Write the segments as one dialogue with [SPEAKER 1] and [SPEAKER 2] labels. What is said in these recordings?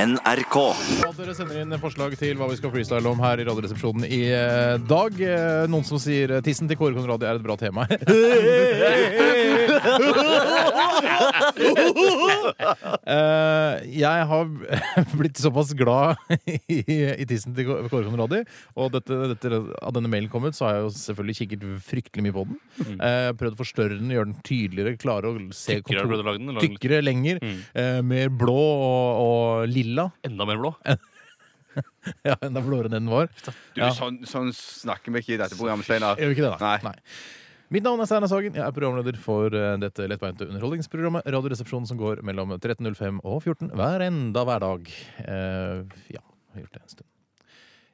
[SPEAKER 1] NRK.
[SPEAKER 2] Og at dere sender inn forslag til hva vi skal freestyle om her i Radioresepsjonen i eh, dag. Eh, Noen som sier eh, 'tissen til Kåre Conradi er et bra tema'. Eh, jeg har blitt såpass glad i, i tissen til Kå- Kåre Conradi, og dette, dette, av denne mailen kom ut, så har jeg jo selvfølgelig kikket fryktelig mye på den. Eh, prøvd å forstørre den, gjøre den tydeligere, klare å se
[SPEAKER 3] Mm. Tykkere har du lagd den? Mm. Lagd den
[SPEAKER 2] Tykkere, lenger, eh, mer blå og, og lilla.
[SPEAKER 3] enda mer blå?
[SPEAKER 2] Ja, enda blåere enn den var.
[SPEAKER 4] Du,
[SPEAKER 2] Ja.
[SPEAKER 4] sånn, sånn snakker vi ikke i dette programmet, Steinar.
[SPEAKER 2] Gjør vi ikke det, da?
[SPEAKER 4] Nei.
[SPEAKER 2] Mitt navn er Steinar Sagen. Jeg er programleder for eh, dette lettbeinte underholdningsprogrammet Radioresepsjonen som går mellom 13.05 og 14 hver enda hverdag. Eh, ja, har gjort det en stund.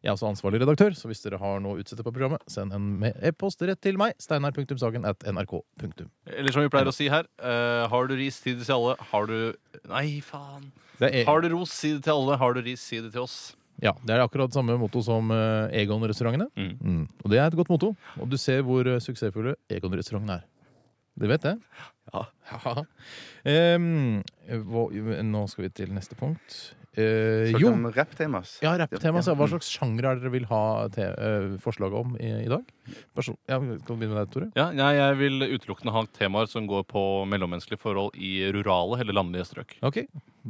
[SPEAKER 2] Jeg er også ansvarlig redaktør, så hvis dere har noe å utsette på programmet, send en me- e-post rett til meg. Steinar.sagen at nrk.no.
[SPEAKER 3] Eller som vi pleier å si her, eh, har du ris, si det til alle. Har du Nei, faen.
[SPEAKER 2] Det er,
[SPEAKER 3] Har du ros, si det til alle. Har du ris, si det til oss.
[SPEAKER 2] ja, det er akkurat samme motto som eh, Egon-restaurantene.
[SPEAKER 3] Mm.
[SPEAKER 2] Mm. Og det er et godt motto. Og du ser hvor eh, suksessfulle Egon-restauranten er. Du vet det?
[SPEAKER 4] Ja.
[SPEAKER 2] Em, hva, nå skal vi til neste punkt. Eh,
[SPEAKER 4] Snakker
[SPEAKER 2] jo,
[SPEAKER 4] om rapptema, ass.
[SPEAKER 2] ja, rapptema. så Hva slags sjanger er det dere vil ha te eh, forslag om i, i dag? Person ja, kan du begynne med deg, Tore?
[SPEAKER 3] Ja, jeg, jeg vil utelukkende ha temaer som går på mellommenneskelige forhold i rurale eller landlige strøk.
[SPEAKER 2] Ok,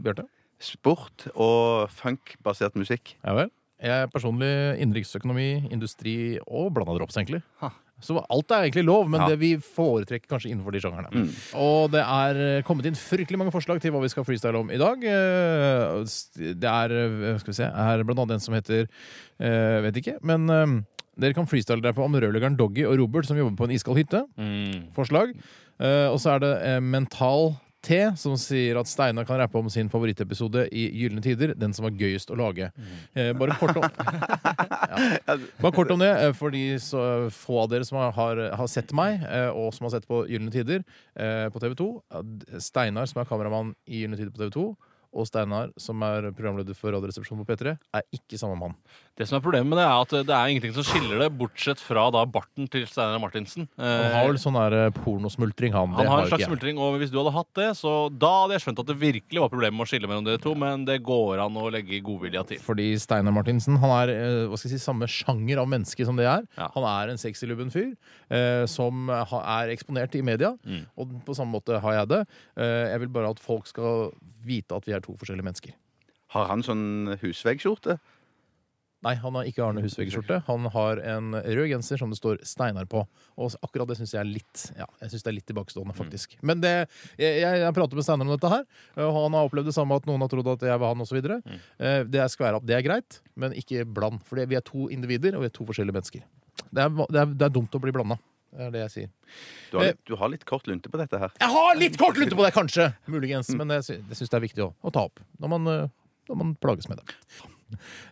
[SPEAKER 2] Bjarte.
[SPEAKER 4] Sport og funkbasert musikk.
[SPEAKER 2] Ja vel. Jeg er personlig innenriksøkonomi, industri og blanda drops, egentlig.
[SPEAKER 3] Ha.
[SPEAKER 2] Så alt er egentlig lov, men
[SPEAKER 4] Ja.
[SPEAKER 2] det vi foretrekker kanskje innenfor de sjangerne. Og det er eh, kommet inn fryktelig mange forslag til hva vi skal freestyle om i dag. Eh, s- Det er, eh, skal vi se, er blant annet en som heter eh, Vet ikke, men eh, dere kan freestyle dere på om rørleggeren Doggy og Robert som jobber på en iskald hytte. Mm. Forslag. Eh, Og så er det eh, Mental T, som sier at Steinar kan rappe om sin favorittepisode i Gylne tider. Den som var gøyest å lage. Eh, Bare kort om bare kort om det, eh, for de så få av dere som har, har- har sett meg, eh, og som har sett på Gylne tider eh, på TV 2. Steinar, som er kameramann i Gylne tider på TV 2, og Steinar, som er programleder for Radioresepsjonen på P3, er ikke samme mann.
[SPEAKER 3] Det som er Problemet med det er at det er ingenting som skiller det, bortsett fra da barten til Steinar Martinsen.
[SPEAKER 2] Han
[SPEAKER 3] Eh,
[SPEAKER 2] har vel sånn der eh, pornosmultring, han.
[SPEAKER 3] han
[SPEAKER 2] Det
[SPEAKER 3] har en
[SPEAKER 2] jo
[SPEAKER 3] slags
[SPEAKER 2] ikke jeg.
[SPEAKER 3] smultring, og hvis du hadde hatt det, så da hadde jeg skjønt at det virkelig var problemer med å skille mellom dere to, men det går an å legge godvilja til.
[SPEAKER 2] Fordi Steinar Martinsen han er eh, hva skal jeg si, samme sjanger av menneske som det jeg er.
[SPEAKER 3] Ja.
[SPEAKER 2] Han er en sexylubben fyr eh, som ha- er eksponert i media. Og på samme måte har jeg det. Eh, jeg vil bare at folk skal vite at vi er to forskjellige mennesker.
[SPEAKER 4] Har han sånn husveggskjorte?
[SPEAKER 2] Nei, han har ikke Arne Husvegg-skjorte. Han har en rød genser som det står Steinar på. Og akkurat det syns jeg er litt ja, jeg synes det er litt tilbakestående, faktisk. Men det, jeg, jeg, jeg prater med Steinar om dette her, og han har opplevd det samme at noen har trodd at jeg var han, osv. Mm. Det er skværa opp. Det er greit, men ikke bland. For vi er to individer, og vi er to forskjellige mennesker. Det er, det er, det er dumt å bli blanda. Det er det jeg sier.
[SPEAKER 4] Du
[SPEAKER 2] Eh.
[SPEAKER 4] har, litt, du har litt kort lunte på dette her.
[SPEAKER 2] Jeg har litt kort lunte på deg, kanskje! Muligens. Men jeg sy- jeg syns det er viktig å, å ta opp når man, eh, når man plages med det.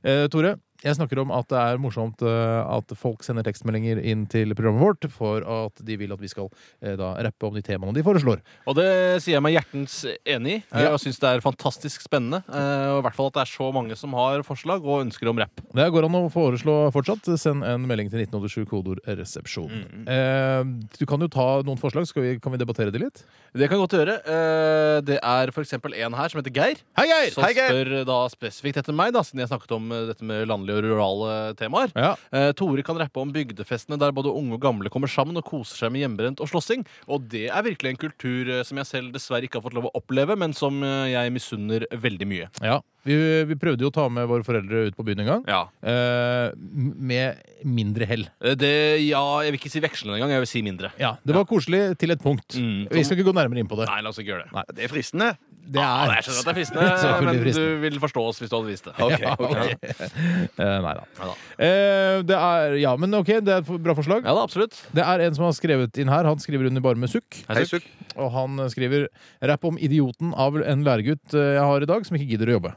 [SPEAKER 2] Eh, Tore, jeg snakker om at det er morsomt eh, at folk sender tekstmeldinger inn til programmet vårt for at de vil at vi skal eh, da rappe om de temaene de foreslår.
[SPEAKER 3] Og det sier jeg meg hjertens enig i. Eh, Jeg syns det er fantastisk spennende. eh, Og i hvert fall at det er så mange som har forslag og ønsker om rapp.
[SPEAKER 2] Det går an å foreslå fortsatt. Send en melding til 1987 kodeord 'resepsjon'. Eh, du kan jo ta noen forslag, skal vi, kan vi debattere de litt?
[SPEAKER 3] Det kan godt gjøre. Eh, Det er for eksempel en her som heter Geir.
[SPEAKER 2] Hei, Geir!
[SPEAKER 3] Som spør eh, da spesifikt etter meg, da, siden jeg snakket om eh, dette med landlige og rurale temaer.
[SPEAKER 2] Ja.
[SPEAKER 3] Eh, Tore kan rappe om bygdefestene der både unge og gamle kommer sammen og koser seg med hjemmebrent og slåssing. Og det er virkelig en kultur eh, som jeg selv dessverre ikke har fått lov å oppleve, men som eh, jeg misunner veldig mye.
[SPEAKER 2] ja. Vi, vi prøvde jo å ta med våre foreldre ut på byen en gang.
[SPEAKER 3] Ja.
[SPEAKER 2] Eh, med mindre hell.
[SPEAKER 3] Eh, Det, ja, jeg vil ikke si vekslende engang, jeg vil si mindre.
[SPEAKER 2] Ja, Det var koselig til et punkt.
[SPEAKER 3] Mm.
[SPEAKER 2] Vi skal ikke gå nærmere inn på det.
[SPEAKER 3] Nei, la oss ikke gjøre det.
[SPEAKER 4] Det er fristende.
[SPEAKER 2] Ah, Det
[SPEAKER 3] Ja, jeg skjønner at det er fristende,
[SPEAKER 2] Selvfølgelig
[SPEAKER 3] men
[SPEAKER 2] fristende.
[SPEAKER 3] du vil forstå oss hvis du hadde visst det.
[SPEAKER 2] Ja, ok. Eh, nei da.
[SPEAKER 3] Ja da.
[SPEAKER 2] Eh, det er, ja, men ok, det er et bra forslag.
[SPEAKER 3] Ja da, absolutt.
[SPEAKER 2] Det er en som har skrevet inn her. Han skriver under bare med sukk.
[SPEAKER 4] Hei, sukk.
[SPEAKER 2] Og han eh, skriver rapp om idioten av en læregutt eh, jeg har i dag, som ikke gidder å jobbe.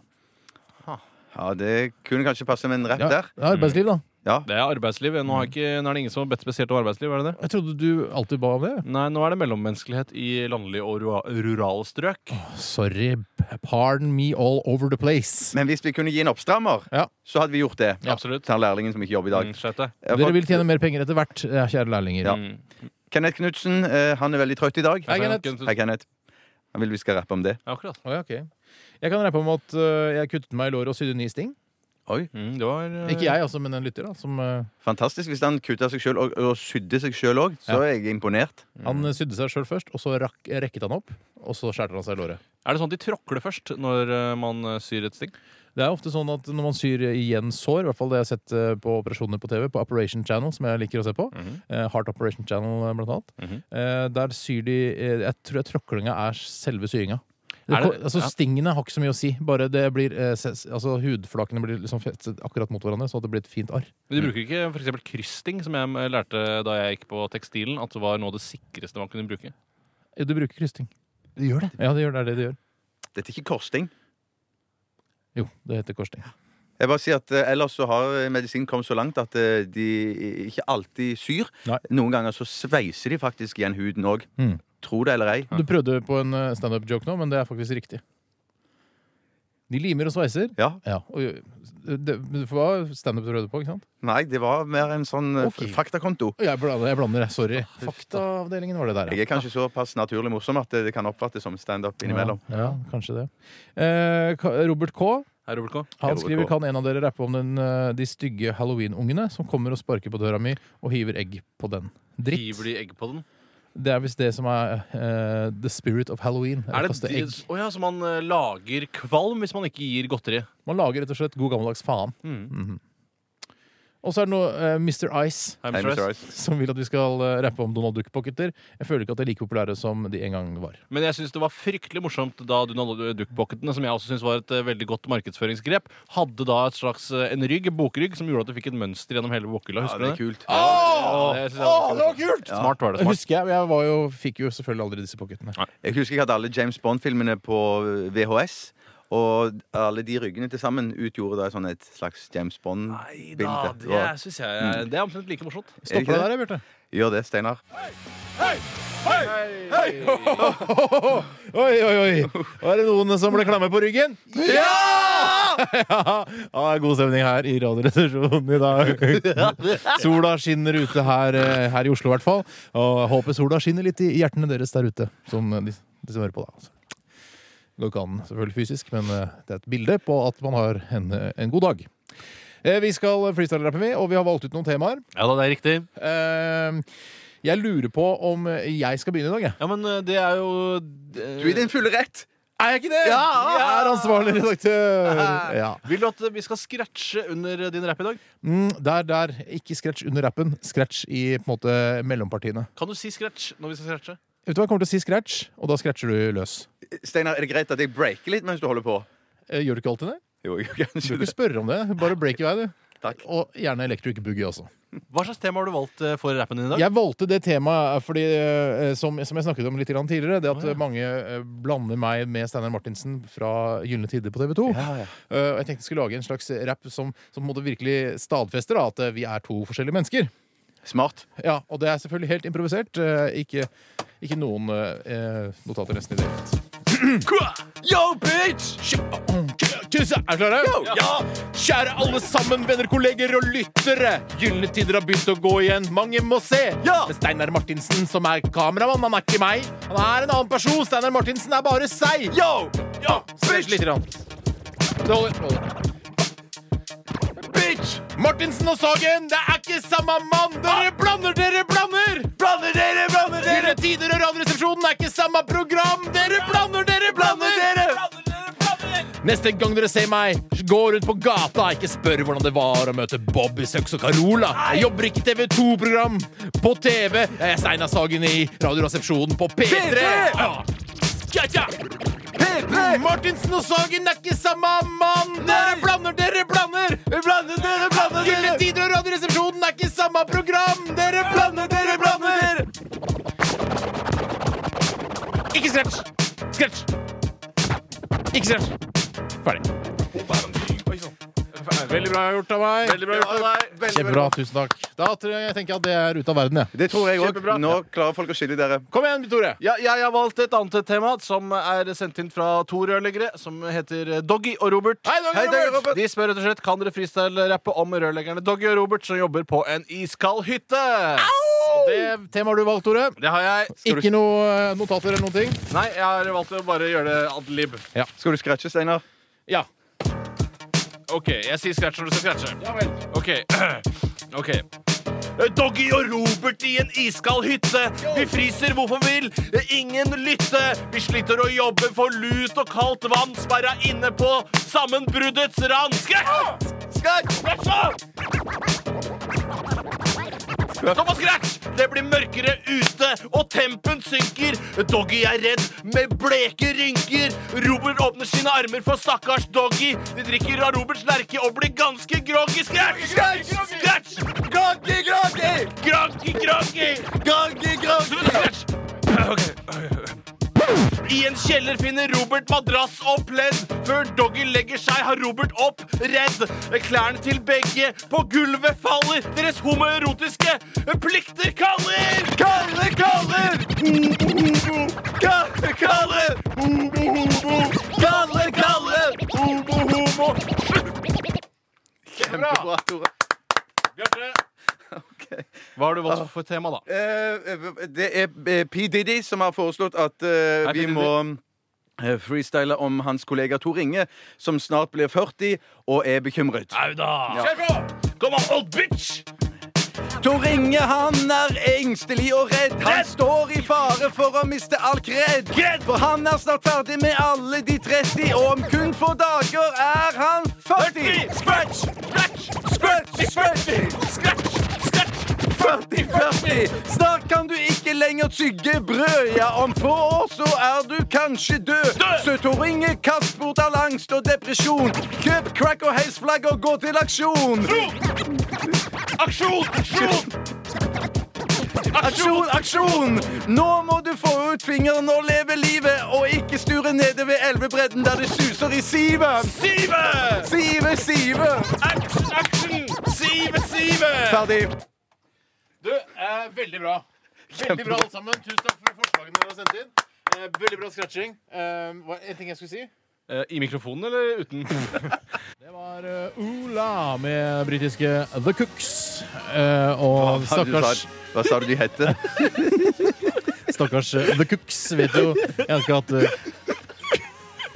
[SPEAKER 4] Ja, det kunne kanskje passe med en rapp
[SPEAKER 2] Ja, det
[SPEAKER 4] der.
[SPEAKER 2] er arbeidsliv, da.
[SPEAKER 4] Ja.
[SPEAKER 3] Det er arbeidsliv. Nå, har ikke, nå er det ingen som har bedt spesielt om arbeidsliv, er det det?
[SPEAKER 2] Jeg trodde du alltid ba om det.
[SPEAKER 3] Nei, nå er det mellommenneskelighet i landlige og rua- rurale strøk.
[SPEAKER 2] Sorry. Pardon me all over the place.
[SPEAKER 4] Men hvis vi kunne gi en oppstrammer,
[SPEAKER 2] Ja.
[SPEAKER 4] så hadde vi gjort det.
[SPEAKER 3] Ja, absolutt.
[SPEAKER 4] Til han lærlingen som ikke jobber i dag.
[SPEAKER 3] Mm, skjøt det. Mm,
[SPEAKER 4] Jeg har
[SPEAKER 2] Dere
[SPEAKER 4] fått-
[SPEAKER 2] vil tjene mer penger etter hvert, eh, kjære lærlinger.
[SPEAKER 4] Ja. Kenneth Knutsen, eh, han er veldig trøtt i dag.
[SPEAKER 2] Hei, Kenneth.
[SPEAKER 4] Hei, Kenneth. Han vil vi skal rappe om det.
[SPEAKER 3] Ja, akkurat.
[SPEAKER 2] Å, ja, ok. Jeg kan rappe om at eh, jeg kuttet meg i låret og sydde ni sting.
[SPEAKER 4] Oi,
[SPEAKER 3] Mm, det var eh,
[SPEAKER 2] Ikke jeg, altså, men en lytter. da som... eh,
[SPEAKER 4] Fantastisk. Hvis han kutta seg sjøl og, og sydde seg sjøl òg, så er jeg imponert.
[SPEAKER 2] Han eh, sydde seg sjøl først, og så rakk, rekket han opp. Og så skjærte han seg i låret.
[SPEAKER 3] Er det sånn at de tråkler først når eh, man eh, syr et sting?
[SPEAKER 2] Det er ofte sånn at når man syr igjen sår, i hvert fall det jeg har sett eh, på operasjoner på TV, på Operation Channel, som jeg liker å se på, eh, Heart Operation Channel eh, blant annet,
[SPEAKER 3] Mhm.
[SPEAKER 2] eh, der syr de eh, Jeg tror jeg tråklinga er selve syinga.
[SPEAKER 3] Er det-
[SPEAKER 2] altså,
[SPEAKER 3] ja.
[SPEAKER 2] Stingene har ikke så mye å si. Bare det blir, eh, ses- altså, Hudflakene blir liksom festet akkurat mot hverandre, så det blir et fint arr.
[SPEAKER 3] Men de bruker ikke for eksempel kryssting, som jeg eh, lærte da jeg gikk på tekstilen, at det var noe av det sikreste man kunne bruke.
[SPEAKER 2] Eh, Du bruker krysting. Det gjør det. Ja, det, gjør, det er det det gjør.
[SPEAKER 4] Dette er ikke korsting.
[SPEAKER 2] Jo, det heter korsting.
[SPEAKER 4] Jeg bare sier at eh, Ellers så har eh, medisinen kommet så langt at eh, de ikke alltid syr.
[SPEAKER 2] Nei.
[SPEAKER 4] Noen ganger så sveiser de faktisk igjen huden òg.
[SPEAKER 2] Mm.
[SPEAKER 4] Tro det eller ei.
[SPEAKER 2] Du prøvde på en eh, standup-joke nå, men det er faktisk riktig. De limer og sveiser.
[SPEAKER 4] Ja,
[SPEAKER 2] Ja, og eh, det, det var standup du prøvde på, ikke sant?
[SPEAKER 4] Nei, det var mer en sånn eh,
[SPEAKER 2] Ok.
[SPEAKER 4] faktakonto.
[SPEAKER 2] Og Jeg blander, jeg blander, jeg. sorry. Ah, Faktaavdelingen var det der,
[SPEAKER 4] Jeg er kanskje såpass naturlig morsom at eh, det kan oppfattes som standup innimellom.
[SPEAKER 2] Ja, ja, kanskje det. Eh, Ka- Robert K.
[SPEAKER 3] Her, Robert K.
[SPEAKER 2] Han
[SPEAKER 4] Robert
[SPEAKER 2] skriver
[SPEAKER 4] K.
[SPEAKER 2] kan en av dere rappe om den, eh, de stygge halloweenungene som kommer og sparker på døra mi og hiver egg på den. Dritt.
[SPEAKER 3] Hiver de egg på den?
[SPEAKER 2] Det er visst det som er eh, the spirit of halloween.
[SPEAKER 3] Er det
[SPEAKER 2] kaste
[SPEAKER 3] de,
[SPEAKER 2] egg.
[SPEAKER 3] Å ja, så man eh, lager kvalm hvis man ikke gir godteri.
[SPEAKER 2] Man lager rett og slett god gammeldags faen.
[SPEAKER 3] Mm.
[SPEAKER 2] Og så er det noe eh, Mr. Ice
[SPEAKER 3] I'm
[SPEAKER 4] Nei, Mr.
[SPEAKER 3] stressed.
[SPEAKER 4] Rice.
[SPEAKER 2] som vil at vi skal eh, rappe om Donald Duck-pocketer. Jeg føler ikke at de er like populære som de en gang var.
[SPEAKER 3] Men jeg syns det var fryktelig morsomt da Donald Duck-pocketene, som jeg også syns var et eh, veldig godt markedsføringsgrep, hadde da et slags eh, en rygg, en bokrygg, som gjorde at du fikk et mønster gjennom hele bokhylla.
[SPEAKER 4] Ja,
[SPEAKER 3] Husker du
[SPEAKER 4] det er
[SPEAKER 3] det?
[SPEAKER 4] kult.
[SPEAKER 3] Ja, det synes jeg var veldig kult.
[SPEAKER 2] kult!
[SPEAKER 3] Smart var det. smart
[SPEAKER 2] Husker jeg, men jeg var jo, fikk jo selvfølgelig aldri disse pocketene.
[SPEAKER 4] Jeg husker jeg hadde alle James Bond-filmene på eh, VHS. Og alle de ryggene til sammen utgjorde da sånn et slags James
[SPEAKER 3] Nei da,
[SPEAKER 4] Bond-bilde.
[SPEAKER 3] det syns jeg
[SPEAKER 4] Mm.
[SPEAKER 3] er- Det er omtrent like morsomt.
[SPEAKER 4] Er det
[SPEAKER 2] Stopper
[SPEAKER 4] ikke
[SPEAKER 2] det der, Bjarte?
[SPEAKER 4] Og Gjør det, Steinar.
[SPEAKER 2] Oi, oi, oi! Er det noen som ble klamme på ryggen? Ja! ja! det er god stemning her i Radioresepsjonen i dag. Sola skinner ute her, eh, her i Oslo, i hvert fall. Og jeg håper sola skinner litt i hjertene deres der ute, som eh, de, de som hører på. da altså. Det går ikke an selvfølgelig fysisk, men eh, det er et bilde på at man har en, eh, en god dag. Eh, Vi skal freestyle-rappe, vi, og vi har valgt ut noen temaer.
[SPEAKER 3] Ja da, det er riktig.
[SPEAKER 2] Eh, Jeg lurer på om jeg skal begynne i dag, jeg.
[SPEAKER 3] Ja, men eh, det er jo
[SPEAKER 4] Du er i din fulle rett!
[SPEAKER 2] Er jeg ikke det? Jeg er ansvarlig redaktør. Ja.
[SPEAKER 3] Vil du at eh, vi skal scratche under eh, din rap i dag?
[SPEAKER 2] Mm, der, der. Ikke scratch under rappen. Scratch i på en måte mellompartiene.
[SPEAKER 3] Kan du si scratch når vi skal scratche?
[SPEAKER 2] Vet du hva, Jeg kommer til å si scratch, og da scratcher du løs.
[SPEAKER 4] Steinar, er det greit at jeg breaker litt mens du holder på?
[SPEAKER 2] Eh, Gjør du ikke alltid det?
[SPEAKER 4] Jo, jo,
[SPEAKER 2] Du
[SPEAKER 4] kanskje
[SPEAKER 2] bør
[SPEAKER 4] det.
[SPEAKER 2] ikke spørre om det. Bare break i vei, du.
[SPEAKER 4] Takk.
[SPEAKER 2] Og gjerne electric boogie også.
[SPEAKER 3] Hva slags tema har du valgt eh, for rappen din i dag?
[SPEAKER 2] Jeg valgte det temaet eh, fordi, eh, som, som jeg snakket om litt grann tidligere, det at eh, mange eh, blander meg med Steinar Martinsen fra Gylne tider på TV 2. Og jeg tenkte jeg skulle lage en slags rap som, som på en måte virkelig stadfester da, at eh, vi er to forskjellige mennesker.
[SPEAKER 4] Smart.
[SPEAKER 2] Ja, og det er selvfølgelig helt improvisert. eh, Ikke, ikke noen eh, notater nesten i det hele tatt.
[SPEAKER 4] Yo, bitch!
[SPEAKER 2] Tusen, er dere klare? Ja! Kjære alle sammen, venner, kolleger og lyttere. Gylne tider har begynt å gå igjen. Mange må se.
[SPEAKER 4] Ja!
[SPEAKER 2] Men Steinar Martinsen, som er kameramann, han er ikke meg. Han er en annen person. Steinar Martinsen er bare seg.
[SPEAKER 4] Yo!
[SPEAKER 2] Ja, Svett litt. Grann. Det holder. det holder.
[SPEAKER 4] Bitch!
[SPEAKER 2] Martinsen og Sagen, det er ikke samme mann! Dere blander, dere blander!
[SPEAKER 4] Blander dere, blander
[SPEAKER 2] Dere tider og Radioresepsjonen er ikke samme program! Dere blander, dere blander! Neste gang dere ser meg, gå rundt på gata. Ikke spør hvordan det var å møte Bobby Søks og Carola. Jeg jobber ikke i TV2-program på TV. Jeg er Steinar Sagen i Radioresepsjonen på P3.
[SPEAKER 4] P3!
[SPEAKER 2] Ja. Ja, ja.
[SPEAKER 4] P3!
[SPEAKER 2] Martinsen og Sagen er ikke samme mann! Dere
[SPEAKER 4] Nei.
[SPEAKER 2] blander, dere blander!
[SPEAKER 4] Blander dere, blander
[SPEAKER 2] Gylne tider og Radioresepsjonen er ikke samme program! Dere blander, dere blander!
[SPEAKER 4] dere!
[SPEAKER 2] Ikke scratch! Scratch! Ikke scratch. Ferdig. Veldig bra gjort av meg.
[SPEAKER 3] Veldig bra gjort av deg.
[SPEAKER 2] Kjempebra. Tusen takk. Da tror jeg, jeg tenker at det er ute av verden, jeg.
[SPEAKER 4] Det tror jeg òg.
[SPEAKER 3] Kjempebra.
[SPEAKER 4] Nå klarer folk å skille dere.
[SPEAKER 2] Kom igjen, Tore.
[SPEAKER 3] Ja, jeg har valgt et annet tema som er sendt inn fra to rørleggere, som heter eh, Doggy og Robert.
[SPEAKER 2] Hei, Doggy og Robert!
[SPEAKER 3] De spør rett og slett kan dere freestyle-rappe om rørleggerne Doggy og Robert som jobber på en iskald hytte. Og
[SPEAKER 2] Det temaet har du valgt, Tore.
[SPEAKER 3] Det har jeg.
[SPEAKER 4] Skal du-
[SPEAKER 2] Ikke noe eh, notater eller noen ting.
[SPEAKER 3] Nei, jeg har valgt å bare gjøre det ad lib.
[SPEAKER 4] Skal du scratche, Steinar?
[SPEAKER 2] Ja.
[SPEAKER 3] OK, jeg sier scratch når du skal scratche. OK. ok Eh, Doggy og Robert i en iskald hytte. Vi fryser hvorfor vi vil, ingen lytte. Vi sliter å jobbe for lut og kaldt vann, sperra inne på sammenbruddets rand. Skræsj! Skræsj! Stopp og scratch! Det blir mørkere ute, og tempen synker. Doggy er redd med bleke rynker. Robert åpner sine armer for stakkars Doggy. De drikker av Roberts lerke og blir ganske groggy. Scratch! Scratch! Scratch! Groggy, groggy! Groggy, groggy! Groggy, groggy! Scratch! I en kjeller finner Robert madrass og pledd. Før Doggy legger seg, har Robert opp redd. Klærne til begge på gulvet faller. Deres homoerotiske plikter kaller. Kaller, kaller. Homo, homo. Kaller, kaller. Homo, homo. Kaller, kaller. Homo, homo.
[SPEAKER 4] Kjempebra, Tore.
[SPEAKER 3] Hva har du valgt for tema, da?
[SPEAKER 4] Eh, det er eh, P. Diddy som har foreslått at
[SPEAKER 3] Hei,
[SPEAKER 4] eh,
[SPEAKER 3] P.
[SPEAKER 4] vi
[SPEAKER 3] Diddy.
[SPEAKER 4] må eh, freestyle om hans kollega Tor Inge, som snart blir 40 og er bekymret.
[SPEAKER 3] Au da. Kjør på! Come on, old bitch!
[SPEAKER 4] Tor Inge han er engstelig og redd. Han
[SPEAKER 3] Redd!
[SPEAKER 4] står i fare for å miste all kred.
[SPEAKER 3] Kred!
[SPEAKER 4] For han er snart ferdig med alle de 30, og om kun få dager er han 40.
[SPEAKER 3] Scratch! Scratch!
[SPEAKER 4] Scratch, scratch,
[SPEAKER 3] Scratch! Scratch!
[SPEAKER 4] 40, 40. Snart kan du ikke lenger tygge brød. Ja, om få år så er du kanskje død.
[SPEAKER 3] Død!
[SPEAKER 4] Så Tor Inge, kast bort all angst og depresjon. Kjøp crack og heisflagg og gå til aksjon.
[SPEAKER 3] Aksjon! Aksjon!
[SPEAKER 4] Aksjon, aksjon! Nå må du få ut fingeren og leve livet, og ikke sture nede ved elvebredden der det suser i sivet.
[SPEAKER 3] Sive!
[SPEAKER 4] Sive, sive!
[SPEAKER 3] Action, action! Sive, Sive!
[SPEAKER 4] Ferdig.
[SPEAKER 2] Du, eh, veldig bra. Veldig bra, alle sammen. Tusen takk for forslagene dere har sendt inn. Eh, veldig bra scratching. Eh, hva- en ting jeg skulle si.
[SPEAKER 3] I mikrofonen eller uten?
[SPEAKER 2] Det var eh, Ola med britiske The Cooks. Eh, og stakkars
[SPEAKER 4] Hva sa du de hette?
[SPEAKER 2] Stakkars eh, The Cooks vet jo Jeg har ikke hatt uh,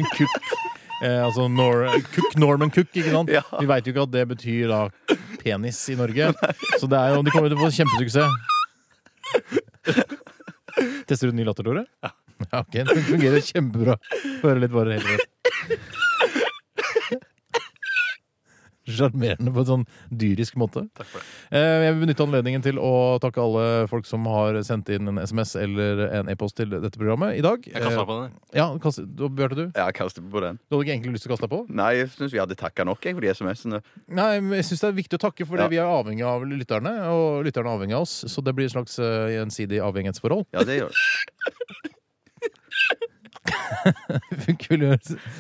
[SPEAKER 2] Cook eh, Altså Nor Cook, Norman Cook, ikke sant?
[SPEAKER 4] Ja.
[SPEAKER 2] Vi veit jo ikke at det betyr da penis i Norge. Så det er jo, de kommer til å få kjempesuksess. Tester du en ny latter, Tore? Ja. ok, Den fungerer kjempebra. Hører litt bare helt rett. Sjarmerende på en sånn dyrisk måte. Eh, Jeg vil benytte anledningen til å takke alle folk som har sendt inn en SMS eller en e-post til dette programmet i dag.
[SPEAKER 3] Jeg kan svare på den.
[SPEAKER 2] Eh, Ja, kast, da, Bjarte, du?
[SPEAKER 4] Ja, kast på den.
[SPEAKER 2] Du hadde ikke egentlig lyst til å kaste deg på?
[SPEAKER 4] Nei, jeg syns vi hadde takka nok jeg, for de SMS-ene.
[SPEAKER 2] Nei, men jeg syns det er viktig å takke, for
[SPEAKER 4] Ja.
[SPEAKER 2] vi er avhengig av lytterne. Og lytterne er avhengig av oss, så det blir et slags eh, gjensidig avhengighetsforhold.
[SPEAKER 4] Ja, det gjør det.
[SPEAKER 2] Det funker vel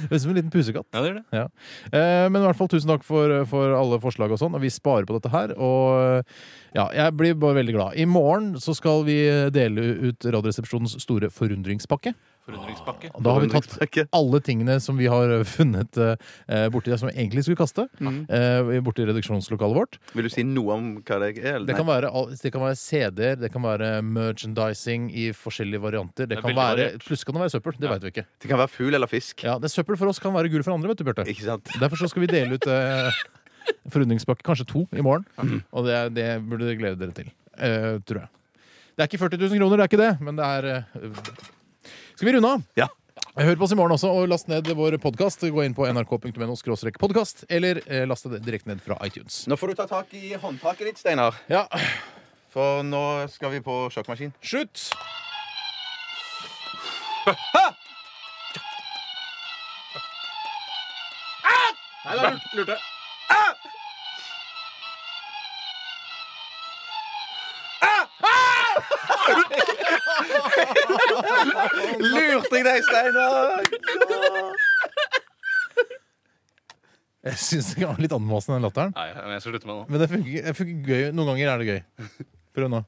[SPEAKER 2] det er som en liten pusekatt.
[SPEAKER 3] Ja, det gjør det.
[SPEAKER 2] Ja. Eh, men i hvert fall tusen takk for, for alle forslag og sånn. Og vi sparer på dette her. Og ja, jeg blir bare veldig glad. I morgen så skal vi dele ut Radioresepsjonens store forundringspakke.
[SPEAKER 3] Forundringspakke.
[SPEAKER 2] Og Da har vi tatt alle tingene som vi har funnet eh, borti det som vi egentlig skulle kaste.
[SPEAKER 3] Mm.
[SPEAKER 2] Eh, borti redaksjonslokalet vårt.
[SPEAKER 4] Vil du si noe om hva det er?
[SPEAKER 2] Det kan, være, all- det kan være CD-er, det kan være merchandising i forskjellige varianter. Det,
[SPEAKER 3] Det er
[SPEAKER 2] kan
[SPEAKER 3] veldig
[SPEAKER 2] være,
[SPEAKER 3] variert.
[SPEAKER 2] pluss kan det være søppel. Det vet vi ikke.
[SPEAKER 4] det kan være fugl eller fisk.
[SPEAKER 2] Ja, det er Søppel for oss kan være gull for andre, vet du, Bjarte.
[SPEAKER 4] Ikke sant?
[SPEAKER 2] Derfor så skal vi dele ut eh, forundringspakke, kanskje to, i morgen.
[SPEAKER 3] Mhm.
[SPEAKER 2] Og det, er- det burde dere glede dere til. eh, tror jeg. Det er ikke 40 000 kroner, det er ikke det, men det er eh, Skal vi runde av?
[SPEAKER 4] Ja.
[SPEAKER 2] Hør på oss i morgen også, og last ned vår podkast. Gå inn på nrk.no podkast, eller eh, last det direkte ned fra iTunes.
[SPEAKER 4] Nå får du ta tak i håndtaket ditt, Steinar.
[SPEAKER 2] Ja,
[SPEAKER 4] For nå skal vi på sjokkmaskin.
[SPEAKER 2] slutt! Nei, da lurte- lurte.
[SPEAKER 4] Ah! Ah! Ah! Lurte jeg deg, Steinar?
[SPEAKER 2] Jeg syns det var litt anmasende, den latteren.
[SPEAKER 3] Nei, men jeg skal slutte med det nå.
[SPEAKER 2] Men det funker, det funker gøy. Noen ganger er det gøy. Prøv nå.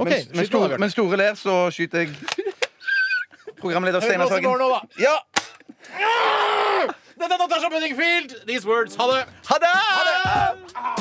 [SPEAKER 2] OK.
[SPEAKER 4] Mens, mens,
[SPEAKER 2] skyt på
[SPEAKER 4] store,
[SPEAKER 2] det, Bjørn.
[SPEAKER 4] mens Store ler, så skyter jeg. Programleder Steinar
[SPEAKER 2] Hør på oss i
[SPEAKER 4] Sagen.
[SPEAKER 2] morgen nå, da.
[SPEAKER 4] Ja!
[SPEAKER 2] Dette er Natasha Bunningfield! These words. Ha det!
[SPEAKER 4] Ha det!